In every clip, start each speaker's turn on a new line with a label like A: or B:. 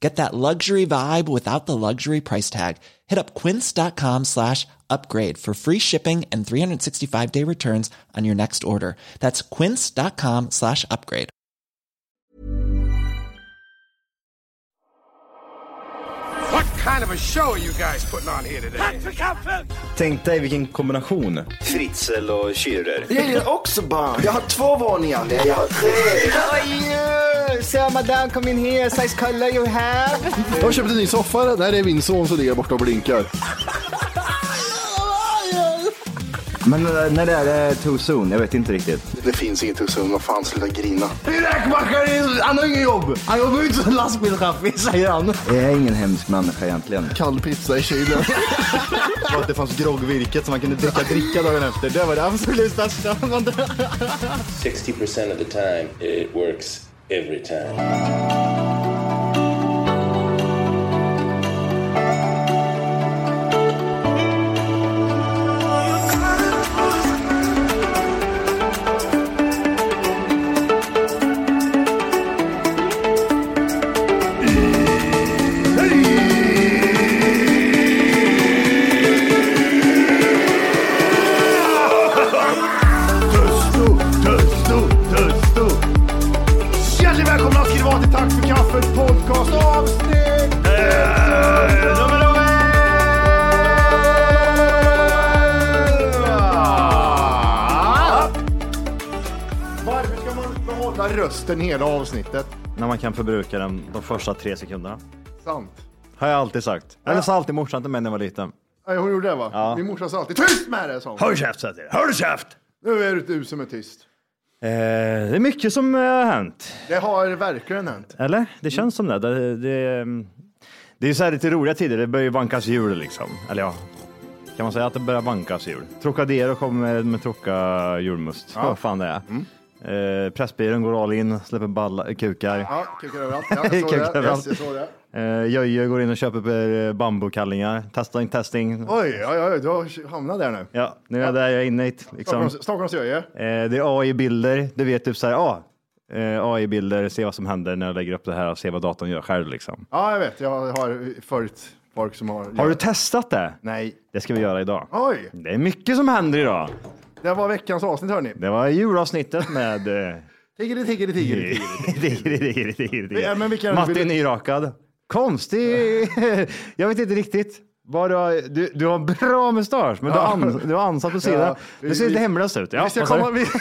A: Get that luxury vibe without the luxury price tag. Hit up quince.com slash upgrade for free shipping and 365 day returns on your next order. That's quince.com slash upgrade.
B: What kind of a show are you guys putting on here today?
C: Tänk dig vilken kombination.
D: Fritzl och Schürrer.
B: Jag är också barn. Jag har två våningar. Nej, jag har tre.
C: Sir, madame, come in here, size color you have.
E: Jag har köpt en ny soffa. Det här är min son som ligger borta och blinkar.
C: Men eh, när det är det too soon? Jag vet inte riktigt.
E: Det finns inget hus vad fan, sluta grina. Räkmackaren, han har inget jobb. Han jobbar ju inte som lastbilschaffis, säger han.
C: Jag är ingen hemsk människa egentligen.
E: Kall pizza i kylen.
C: Och att det fanns groggvirket som man kunde dricka dricka dagen efter. Det var det absolut värsta.
D: 60% of the time, it works every time.
E: Tusto, tusto, tusto. Hjärtligt välkomna ska ni vara till Tack för kaffet podcast avsnitt eh, nummer elva. Varför ska man behålla rösten hela avsnittet?
C: när man kan förbruka den de första tre sekunderna.
E: Sant.
C: Har jag alltid sagt. Eller sa alltid morsan till mig när jag var liten.
E: Nej, Hon gjorde det va?
C: Ja.
E: Min morsa sa alltid tyst med dig sa hon.
C: Håll käft sa jag till dig. Håll käft!
E: Nu är det du som är tyst.
C: Eh, det är mycket som eh, har hänt.
E: Det har verkligen hänt.
C: Eller? Det känns som det. Det, det, mm, det är ju så här lite roliga tider. Det börjar ju vankas jul liksom. Eller ja, kan man säga att det börjar vankas jul? Trocadero kommer med Troca julmust. Vad fan det är.
E: Mm.
C: Eh, Pressbyrån går all in, släpper balla, eh, kukar.
E: Ja, kukar överallt. Ja, jag såg
C: Kukar
E: det. Yes,
C: överallt.
E: jag såg det.
C: Eh, Jöjö går in och köper eh, bambukallingar. Testing, testing.
E: Oj, oj, oj, du har hamnat där nu.
C: Ja, nu är jag där jag är inne i. det, Liksom.
E: Stockholms- Stockholms Öje.
C: Eh, det är AI-bilder. Du vet, typ så här, ah, eh, AI-bilder, se vad som händer när jag lägger upp det här och se vad datorn gör själv. Liksom.
E: Ja, jag vet. Jag har följt folk som har...
C: Har du testat det?
E: Nej.
C: Det ska vi göra idag.
E: Oj,
C: Det är mycket som händer idag.
E: det var veckans avsnitt hörni.
C: Det var julavsnittet med eh,
E: Tiggeri, tiggeri, tiggeri.
C: Digri, digri, digri, digri.
E: Ja, men vilka-
C: Matti
E: vill-
C: nyrakad. Konstig. Jag vet inte riktigt. Vad du, har, du, du har bra mustasch, men du, har ans, du har ansatt på sidan.
E: Ja,
C: det ser
E: vi-
C: lite hemlöst ut. Ja,
E: Vi ska
C: vad sa du?
E: komma... Vi...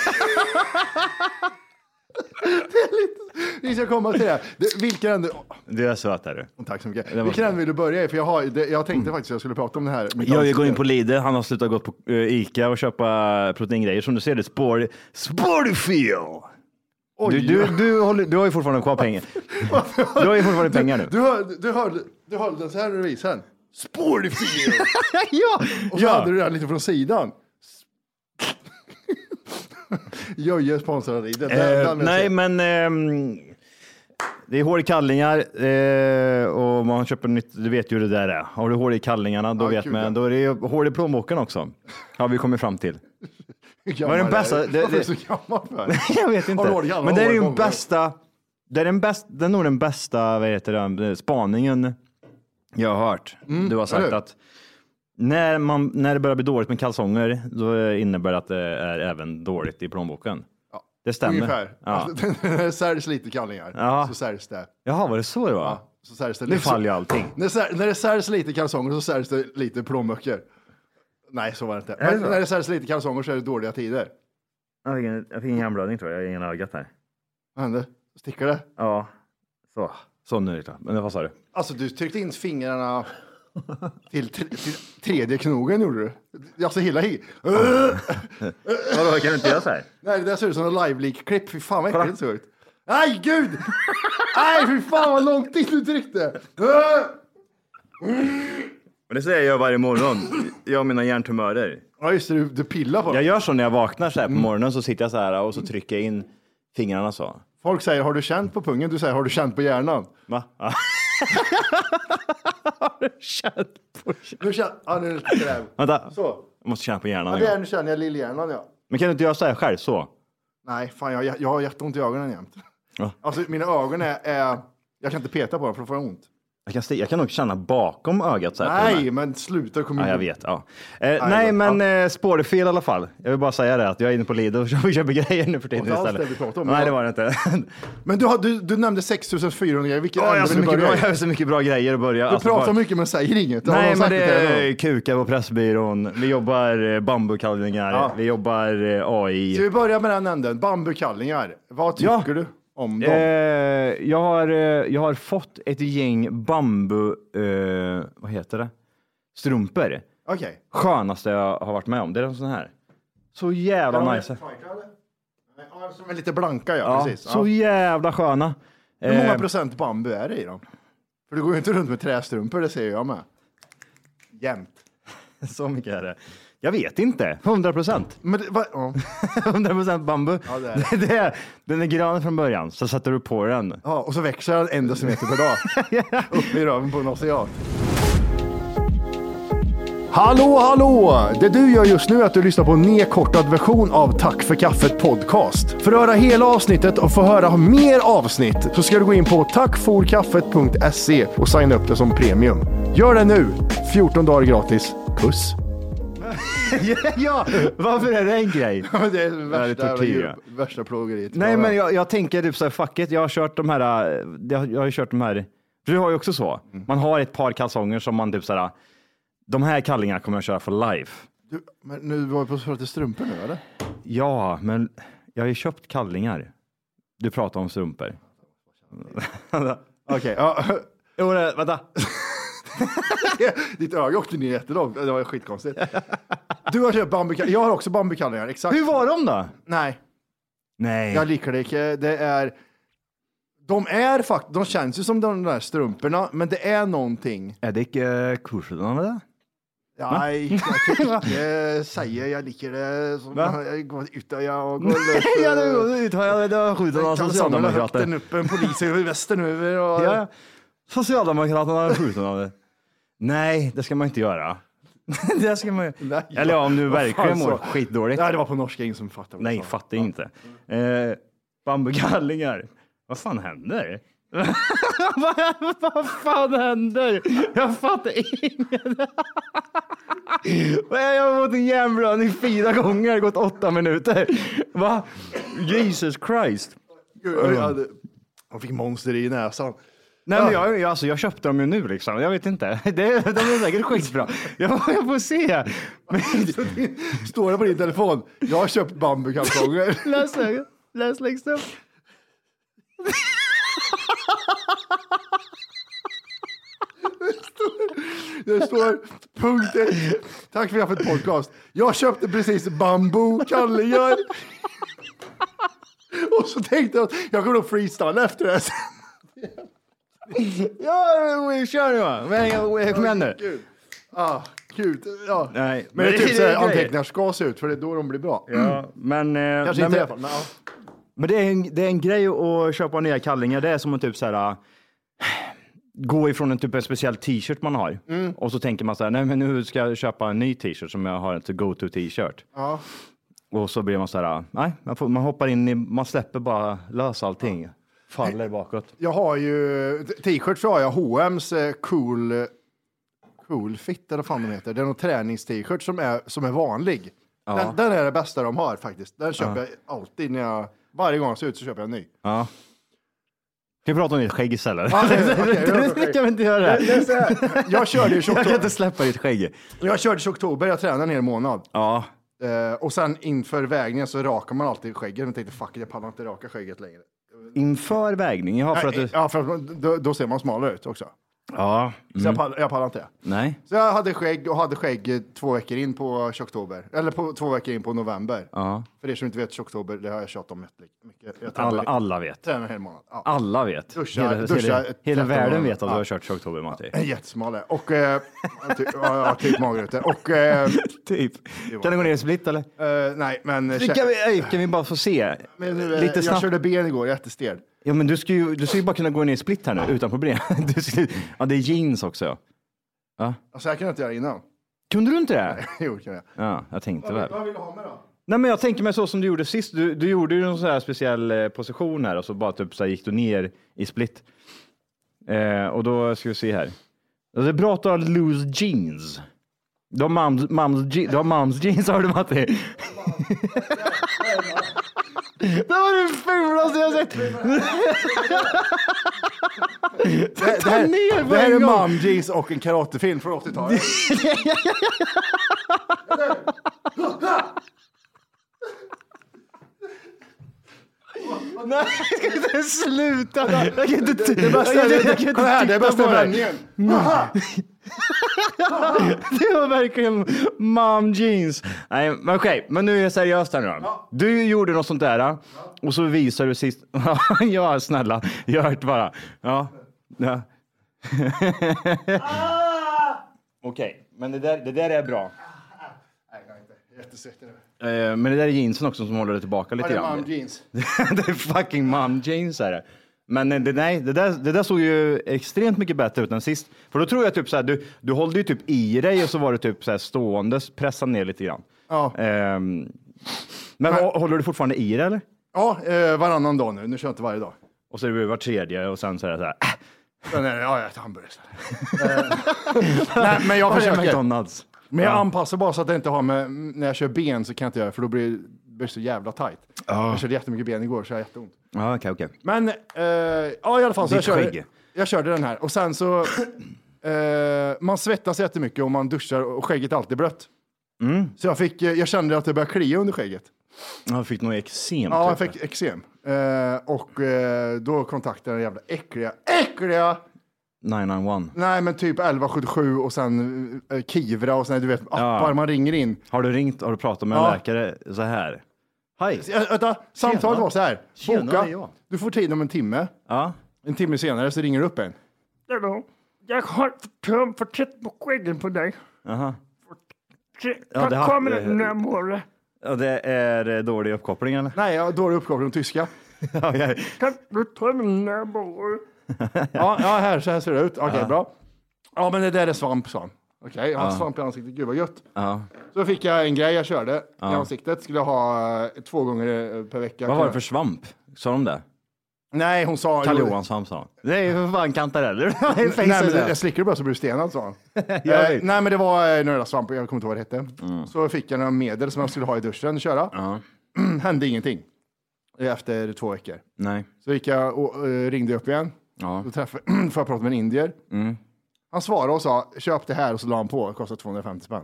E: det är lite Vi ska komma till det. här. det vilken ände...
C: Du är söt är du.
E: Tack så mycket.
C: var
E: Vilken
C: bra.
E: ände vill du börja i? För jag, har, det, jag tänkte faktiskt att jag skulle prata om det här.
C: Jag vill gå in på Lidl, han har slutat gå på eh, Ica och köpa proteingrejer. Som du ser, det är spår, spårfil! Du, du, du, håller, du har ju fortfarande kvar pengar. Du har ju fortfarande pengar nu.
E: Du höll, du höll, du höll den så här när du visade den. Sportfil!
C: ja!
E: Och så
C: ja.
E: hade du den lite från sidan. Jöje sponsrar dig. Den, den,
C: Eh,
E: den vill jag
C: nej,
E: se.
C: men ehm, det är hål i kallingar eh, och man köper nytt. Du vet ju hur det där är. Har du hål i kallingarna, då
E: Ja,
C: vet
E: gud, ja.
C: man. Då är det ju hål i plånboken också. Har vi kommit fram till.
E: Hur
C: vad är den
E: gammal
C: bästa- det-
E: är du? Varför är du
C: det-
E: så gammal för?
C: Jag vet
E: Har du
C: inte.
E: hål i alla
C: Men det är
E: hål
C: ju den
E: i plånboken?
C: bästa. Det är, den bäst, det är nog den bästa vad heter det, spaningen jag har hört. du har sagt
E: Mm, eller hur?
C: att när, man, när det börjar bli dåligt med kalsonger, då innebär det att det är även dåligt i plånboken. Det stämmer.
E: Ungefär.
C: Ja.
E: Alltså, när det säljs lite kallingar
C: Ja.
E: så säljs det.
C: Jaha, var det så det var?
E: Så säljs det
C: Nu faller ju allting.
E: När, det sär- när det säljs lite kalsonger så säljs det lite plånböcker. Nej, så var det inte.
C: det
E: Men
C: så?
E: när det säljs lite kalsonger så är det dåliga tider.
C: Jag fick en, jag fick en hjärnblödning tror jag, i ena ögat här.
E: Vad hände? Sticker det?
C: Ja, så. Så nu är det klart. Men vad sa du?
E: Alltså, du tryckte in fingrarna till, till, till tredje knogen gjorde du. Alltså hela hi.
C: Vadå, kan du inte göra så här?
E: Nej, det där ser ut som en live-leak-klipp. Fy fan vad äckligt det såg ut. Nej, gud! Nej, fy fan vad långt in du tryckte.
C: Men det säger jag varje morgon. Jag och mina hjärntumörer.
E: Ja, just det, du, du pillar på
C: Jag
E: det.
C: gör så när jag vaknar så här på morgonen så sitter jag så här och så trycker jag in fingrarna så.
E: Folk säger, har du känt på pungen? Du säger, har du känt på hjärnan?
C: Va? Ja.
E: Nu känner ja, nu är det kräm.
C: Vänta,
E: Så.
C: jag måste känna på
E: Ja,
C: hjärnan.
E: det är,
C: Ja,
E: nu känner jag lillhjärnan, ja.
C: men kan du inte göra så här själv? Så.
E: Nej, fan, jag, jag har jätteont i ögonen jämt.
C: Ja.
E: Alltså, mina ögon är, är... Jag kan inte peta på dem, för då får jag ont.
C: Jag kan, sti- jag kan nog känna bakom ögat så här. på den här.
E: Nej, men sluta. Kom
C: Ja, jag
E: igen.
C: vet. Ja. Eh, nej, men eh, spårfel i alla fall. Jag vill bara säga det att jag är inne på Lidl och köper, köper grejer nu för tiden
E: Det var inte alls
C: istället.
E: det vi pratade om.
C: nej, det var det inte.
E: Men du, har, du, du nämnde 6400 grejer. Vilken
C: Åh, jag,
E: ände
C: har
E: vill
C: så
E: du
C: mycket bra,
E: börja i?
C: jag har så mycket bra grejer att börja.
E: Du
C: Alltså,
E: pratar
C: bara-
E: mycket men säger inget. Har
C: Nej,
E: någon
C: men
E: sagt
C: det
E: till dig
C: är
E: någon?
C: kukar på Pressbyrån. Vi jobbar eh, bambukallningar.
E: Ja.
C: Vi jobbar eh, AI.
E: Ska vi börja med den änden? Bambukallingar. Vad tycker
C: Ja.
E: du om
C: Eh,
E: dem?
C: jag, har, eh, jag har fått ett gäng bambu... Eh, vad heter det? Strumpor.
E: Okej.
C: Skönaste jag har varit med om. Det är en sån här. Så jävla nice.
E: Ja, Som är lite blanka, ja.
C: Ja,
E: precis.
C: så
E: Ja.
C: jävla sköna.
E: Hur många
C: Eh,
E: procent bambu är det i dem? För du går ju inte runt med trästrumpor, det ser jag med. Jämt.
C: Så mycket är det. Jag vet inte. 100 procent.
E: Men det, va, ja.
C: 100 procent bambu.
E: Ja, det är
C: det. är, den är grön från början, så sätter du på den.
E: ja, och så växer den en decimeter per dag. Upp i röven på en ocean. Hallå, hallå! Det du gör just nu är att du lyssnar på en nedkortad version av Tack för kaffet podcast. För att höra hela avsnittet och få höra mer avsnitt så ska du gå in på tackforkaffet.se och signa upp det som premium. Gör det nu! 14 dagar gratis. Puss!
C: ja, varför är det en grej?
E: Men det är
C: Ja,
E: det
C: det är
E: värsta,
C: tortyr,
E: djur-
C: ja.
E: värsta plågeriet.
C: Nej, men jag, jag tänker typ så här, fuck it, jag har kört de här, eh, jag, jag har ju kört de här, för du har ju också så. Man har ett par kalsonger som man typ så här, de här kallingarna kommer jag köra för life.
E: Du, men nu var vi på att prata strumpor nu eller?
C: Ja, men jag har ju köpt kallingar. Du pratar om strumpor.
E: Okej, ja.
C: Jo, det- vänta.
E: Ditt öga åkte ner jättelångt, det var skitkonstigt. Du har köpt bambukallingar, jag har också bambukallingar, exakt.
C: Hur var de då?
E: Nej,
C: Nej.
E: jag likar det inte. Det är... De är faktiskt, de känns ju som de där strumporna, men det är någonting.
C: Är det inte eh, kursen av det?
E: Nej, jag kan inte säga, jag likar det. Som,
C: Va?
E: jag går ut och jag går lös.
C: Ja, det var- det var skjutet av
E: Kalsongerna högt än
C: socialdemokrater.
E: upp, en polis över västen över. Och...
C: Ja, ja. socialdemokraterna har skjutit av det. Nej, det ska man inte göra. det ska man
E: Nej, ja.
C: Eller ja, om du
E: Vad
C: verkligen
E: fan
C: mår
E: så.
C: skitdåligt.
E: Nej, det var på norska, ingen som fattade. vad jag
C: Nej,
E: sa.
C: fattar inte. Eh, Bambugallingar. Vad fan händer? Vad- Vad fan händer? Jag fattar inget. Vad är Jag har fått en hjärnblödning fyra gånger, gått åtta minuter. Va? Jesus Christ.
E: Gud, jag, hade... jag fick monster i näsan.
C: Nej, men jag, jag, alltså, jag köpte dem ju nu liksom. Jag vet inte. Det, de är säkert skitbra. Jag, jag får se. Men,
E: Står det på din telefon? Jag har köpt bambukalsonger.
C: läs, läs längst upp.
E: Det står punkt ett. Tack för kaffet podcast. Jag köpte precis bambukallingar. Och så tänkte jag att jag kommer nog freestyla efter det här sen.
C: Ja, vi kör nu va. Men, kom igen nu.
E: Gud. Ah, gud. Ja.
C: Nej,
E: Men det är typ så här
C: grejer.
E: anteckningar ska se ut, för det är då de blir bra.
C: Ja, men... eh,
E: Kanske
C: nej,
E: inte i
C: men-
E: alla fall, men ja.
C: Men det är, en, det är en grej att köpa nya kallingar. Det är som att typ så här, äh, gå ifrån en, typ en speciell t-shirt man har
E: Mm.
C: och så tänker man så här, nej men nu ska jag köpa en ny t-shirt som jag har en go-to t-shirt.
E: Ja.
C: Och så blir man så här, äh, nej, man, får, man hoppar in i, man släpper bara lös allting. Faller bakåt.
E: Jag har ju, t-shirts har jag, H&M's eh, cool, cool fit eller vad fan de heter. Det är någon träningst-shirt som är, som är vanlig. Den, den är det bästa de har faktiskt. Den köper jag alltid när jag, varje gång jag ser ut så köper jag en ny.
C: Ja. Ska vi prata om ditt skägg istället?
E: Ja, det- okej, vi pratar om
C: det kan vi inte göra. Det,
E: Det är så här, jag körde ju
C: jag kan
E: tjocktopp.
C: inte släppa ditt skägg.
E: Jag körde i oktober, jag tränade ner en månad.
C: Ja,
E: Eh, och sen inför vägningen så rakar man alltid skägget. Men tänkte fuck it, jag pallar inte raka skägget längre.
C: inför vägning. Ja, för att du...
E: Ja, för att man, då, då ser man smalare ut också.
C: Ja.
E: Så jag, pallar, jag pallar inte det.
C: Nej.
E: Så jag hade skägg och hade skägg eh, två veckor in på oktober. Eller på, två veckor in på november.
C: Ja.
E: För er som inte vet, oktober, det har jag tjatat om jättemycket. Jag tränar-
C: Alla, alla vet.
E: tränar en hel månad. Ja.
C: Alla vet.
E: Duscha-
C: hela,
E: duscha
C: hela,
E: ett-
C: hela världen
E: tretton
C: vet att du
E: gånger.
C: har kört Tjocktober, Matti.
E: En Jättesmal är jag. Och... Eh, ty, ja, jag har typ magrutor. Och... Eh,
C: typ. Kan det gå ner i split eller?
E: eh, nej, men... eh,
C: Kan vi, ej, kan vi bara få se?
E: Men nu, eh,
C: Lite
E: jag
C: snabbt.
E: körde ben igår, jättestel.
C: Ja, men du ska ju, du ska ju bara kunna gå ner i split här nu utan problem. Du ska, ja, det är jeans också. ja. Ja.
E: Alltså, jag kunde inte göra innan.
C: Kunde du inte det?
E: jo, kan jag.
C: Ja, jag tänkte väl.
E: Vad vill du ha med då?
C: Nej, men jag tänker mig så som du gjorde sist. Du, du gjorde ju en sån här speciell eh, position här och så bara typ så här gick du ner i split. Eh, och då ska vi se här. Det är bra att du har loose jeans. Du har mums, mums, je- du har mums jeans, har du Matti? Det var det fulaste jag sett!
E: Det, det,
C: Ta ner
E: här,
C: på
E: det här
C: en
E: är
C: gång.
E: mom jeans och en karatefilm från 80-talet.
C: Nej, jag kan inte sluta! Jag kan inte... Det, det
E: bästa är- Kolla här, det är bästa vändningen.
C: Det var verkligen mom jeans. Nej, men okej, men nu är jag seriös här nu då. Du gjorde något sånt där och så visar du sist. ja, snälla, jag har hört bara. Ja. ja.
E: Ah!
C: okej, men det där, det där är bra.
E: Nej, jag är inte jättesvettig nu.
C: Eh, Men det där är jeansen också som håller det tillbaka
E: Ja,
C: lite
E: Det är
C: grann.
E: mom jeans.
C: det är fucking mom jeans är det. Men eh, det, nej, det där, det där såg ju extremt mycket bättre ut än sist. För då tror jag typ så här, du, du hållde ju typ i dig och så var du typ så här ståendes, pressade ner lite grann.
E: Ja.
C: Ehm, men vad- håller du fortfarande i det eller?
E: Ja, eh, varannan dag nu. Nu kör jag inte varje dag.
C: Och så är det var tredje och sen så är det så här. Äh,
E: Sen är det, ja, jag äter hamburgare istället. Eh, Nej, men jag
C: jag
E: försöker.
C: McDonalds.
E: Men jag anpassar bara så att det inte har med, när jag kör ben så kan jag inte göra det, för då blir blir det så jävla tajt. Jag körde jättemycket ben igår så jag har jätteont.
C: Ja, okej, okej.
E: Men, eh, ja i alla fall så jag
C: Ditt
E: körde,
C: skägg.
E: jag körde den här och sen så, eh, man svettas jättemycket och man duschar och skägget är alltid blött.
C: Mm.
E: Så jag, fick, eh, jag kände att det började klia under skägget.
C: Jag fick nog eksem.
E: Ja, jag
C: typ.
E: fick eksem. Eh, och eh, då kontaktade den jävla äckliga, äckliga,
C: 991.
E: nej men typ 1177 och sen eh, Kivra och sen du vet appar man ringer in.
C: Har du ringt, har du pratat med en
E: Ja.
C: läkare så här? Hej.
E: Äh, vänta, samtalet
C: Tjena.
E: var så här.
C: Tjena,
E: Boka,
C: det är jag.
E: du får tid om en timme.
C: Ja.
E: En timme senare så ringer du upp en.
B: Jag har tömt för tätt på skäggen på dig.
C: Aha. Ja, det
B: Ja,
C: har-
B: Kommer
C: eh,
B: den när jag mår?
C: Ja, det är eh, dålig uppkoppling eller?
E: Nej, jag har dålig uppkoppling på tyska.
C: Ja, jag-
B: Kan du ta den när jag mår?
E: Ja, ja här, så här ser det ut. Okej, bra. Ja, men det där är svamp, sa han. Okej, jag har svamp i ansiktet. Gud vad gött.
C: ja.
E: Så fick jag en grej jag körde i ansiktet. Skulle jag ha eh, två gånger eh, per vecka.
C: Vad var det för svamp? Sa de det?
E: Nej, hon sa...
C: Karl Johan svamp sa de. Det är ju för fan kantareller.
E: Nej, men jag slickade bara så blev du stenad, sa han.
C: Jag
E: eh,
C: vet.
E: nej, men det var eh, några svampar, jag kommer inte ihåg vad det hette.
C: Mm.
E: Så fick jag några medel som jag skulle ha i duschen och köra. Hände ingenting. Efter två veckor.
C: Nej.
E: Så gick jag och eh, ringde upp igen.
C: Ja. Mm.
E: Då träffade, får jag prata med en indier. Han svarade och sa köp det här och så la han på. Det kostar 250 spänn. Eh,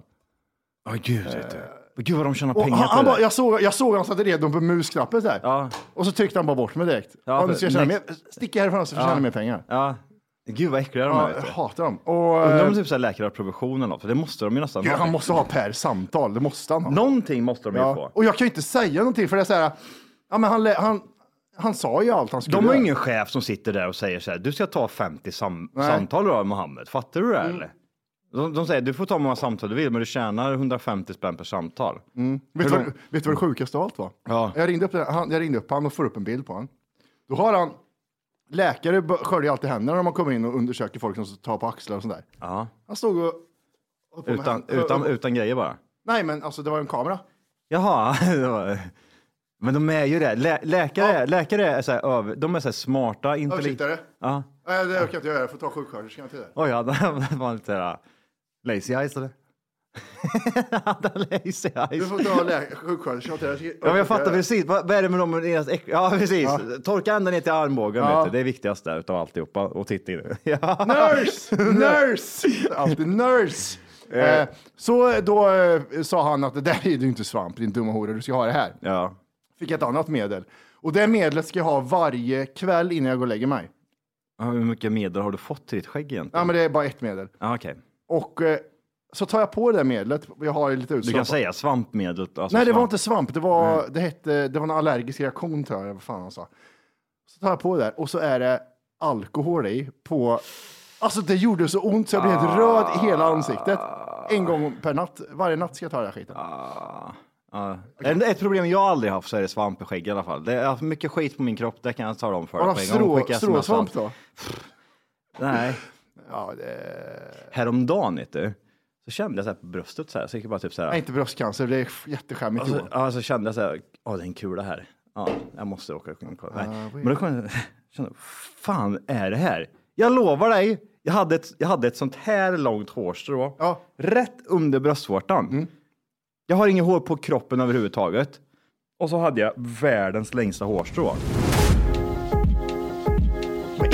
C: Åh gud. vet du. Men Eh, Gud vad de tjänar
E: Och
C: pengar
E: han,
C: på det
E: han bara,
C: där.
E: jag, såg, jag såg han satt redo på musknappen så här. Och så tryckte han bara bort mig direkt.
C: Ja,
E: Ja,
C: för-
E: nu ska jag tjäna
C: nej.
E: mer, stick härifrån så får jag tjäna mer pengar.
C: Ja. Gud vad äckliga de
E: Ja,
C: är. vet du.
E: jag hatar dem. Och,
C: Undrar
E: eh,
C: om typ så här läkarprovision eller något, för det måste de ju nästan
E: Gud, han måste ha per samtal, det måste han ha.
C: Någonting måste de ju
E: ja.
C: få.
E: Och jag kan ju inte säga någonting för det är så här, ja, men han, lä- han, han sa ju allt han skulle
C: De har
E: göra.
C: ingen chef som sitter där och säger så här, du ska ta 50 sam-
E: Nej.
C: samtal då Mohammed, fattar du det här, eller? De, de säger, du får ta hur många samtal du vill, men du tjänar 150 spänn per samtal.
E: Mm. Vet,
C: Hur
E: du vad,
C: lång-
E: vet du vad det sjukaste av allt var?
C: Ja.
E: Jag, ringde upp, den- han, jag ringde upp han och får upp en bild på han. Då har han, läkare b- sköljer alltid händerna när man kommer in och undersöker folk som tar på axlar och sånt där.
C: Ja.
E: Han stod och... och på med
C: Utan,
E: hand-
C: utan,
E: och- och-
C: utan grejer bara.
E: Nej, men alltså det var en kamera.
C: Jaha, det var- men de är ju det. Lä, läkare, läkare är så här, över, de är så här smarta, intelligenta.
E: Översiktare.
C: Ja.
E: Nej, det kan jag inte göra. Jag får ta sjuksköterskan till det.
C: Oj, hade han var lite där, lazy eyes eller? hade han lazy eyes?
E: Du får ta lä- sjuksköterskan till det. Jag ska-
C: Ja, men jag fattar precis. Vad, vad är det med dem och deras äck... Ja, precis. Torka ända ner till armbågen.
E: Ja.
C: Vet du. Det är viktigast där utav alltihopa. Och titta in. Ja.
E: Nurse! Nurse! Alltid nurse! Eh, så då eh, sa han att det där är ju inte svamp, din dumma hora, du ska ha det här.
C: ja.
E: Fick ett annat medel. Och det medlet ska jag ha varje kväll innan jag går och lägger mig.
C: Ja, Hur mycket medel har du fått till ditt skägg egentligen?
E: Ja, men det är bara ett medel.
C: Ja, okej.
E: Och eh, så tar jag på det där medlet, jag har ju lite
C: Du kan
E: utsvamp.
C: säga svampmedlet. Alltså
E: Nej, det
C: svamp.
E: var inte svamp, det var, det hette, det var en allergisk reaktion tror jag, vad fan han sa. Så tar jag på det där och så är det alkohol i på, alltså det gjorde så ont så jag blev
C: Ah.
E: helt röd i hela ansiktet. En gång per natt, varje natt ska jag ta den här skiten.
C: Ah, Ja. Ett- Ett problem jag aldrig haft så är det svamp i skägg i alla fall. Det är mycket skit på min kropp, det kan jag tala om för
E: Har du
C: på
E: haft
C: en gång.
E: strå,
C: Skicka sms
E: stråsvamp
C: om-
E: då?
C: Nej.
E: Ja, det...
C: Häromdagen vet du, så kände jag så här på bröstet så här, så gick jag bara typ så här.
E: Nej, inte bröstcancer, det är f- jätteskämmigt
C: Alltså,
E: Johan.
C: ja, så kände jag så här, ja det är en kula här. Ja, jag måste åka och kolla. Nej. Men då kom jag, kände, fan är det här? Jag lovar dig, jag hade ett, jag hade ett sånt här långt hårstrå,
E: Ja.
C: rätt under bröstvårtan. Jag har inget hår på kroppen överhuvudtaget. Och så hade jag världens längsta hårstrå.
E: Men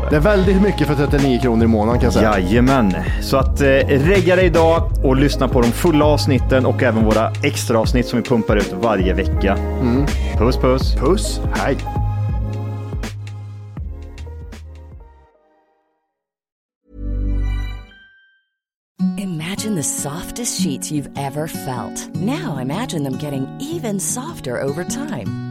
E: Det
C: det.
E: är väldigt mycket för 39 kronor i månaden kan jag säga.
C: Jajamän, så att eh, regga dig idag och lyssna på de fulla avsnitten och även våra extra avsnitt som vi pumpar ut varje vecka. Puss puss!
E: Mm. Puss, hej!
F: Imagine the softest sheets you've ever felt. Now imagine them getting even softer over time.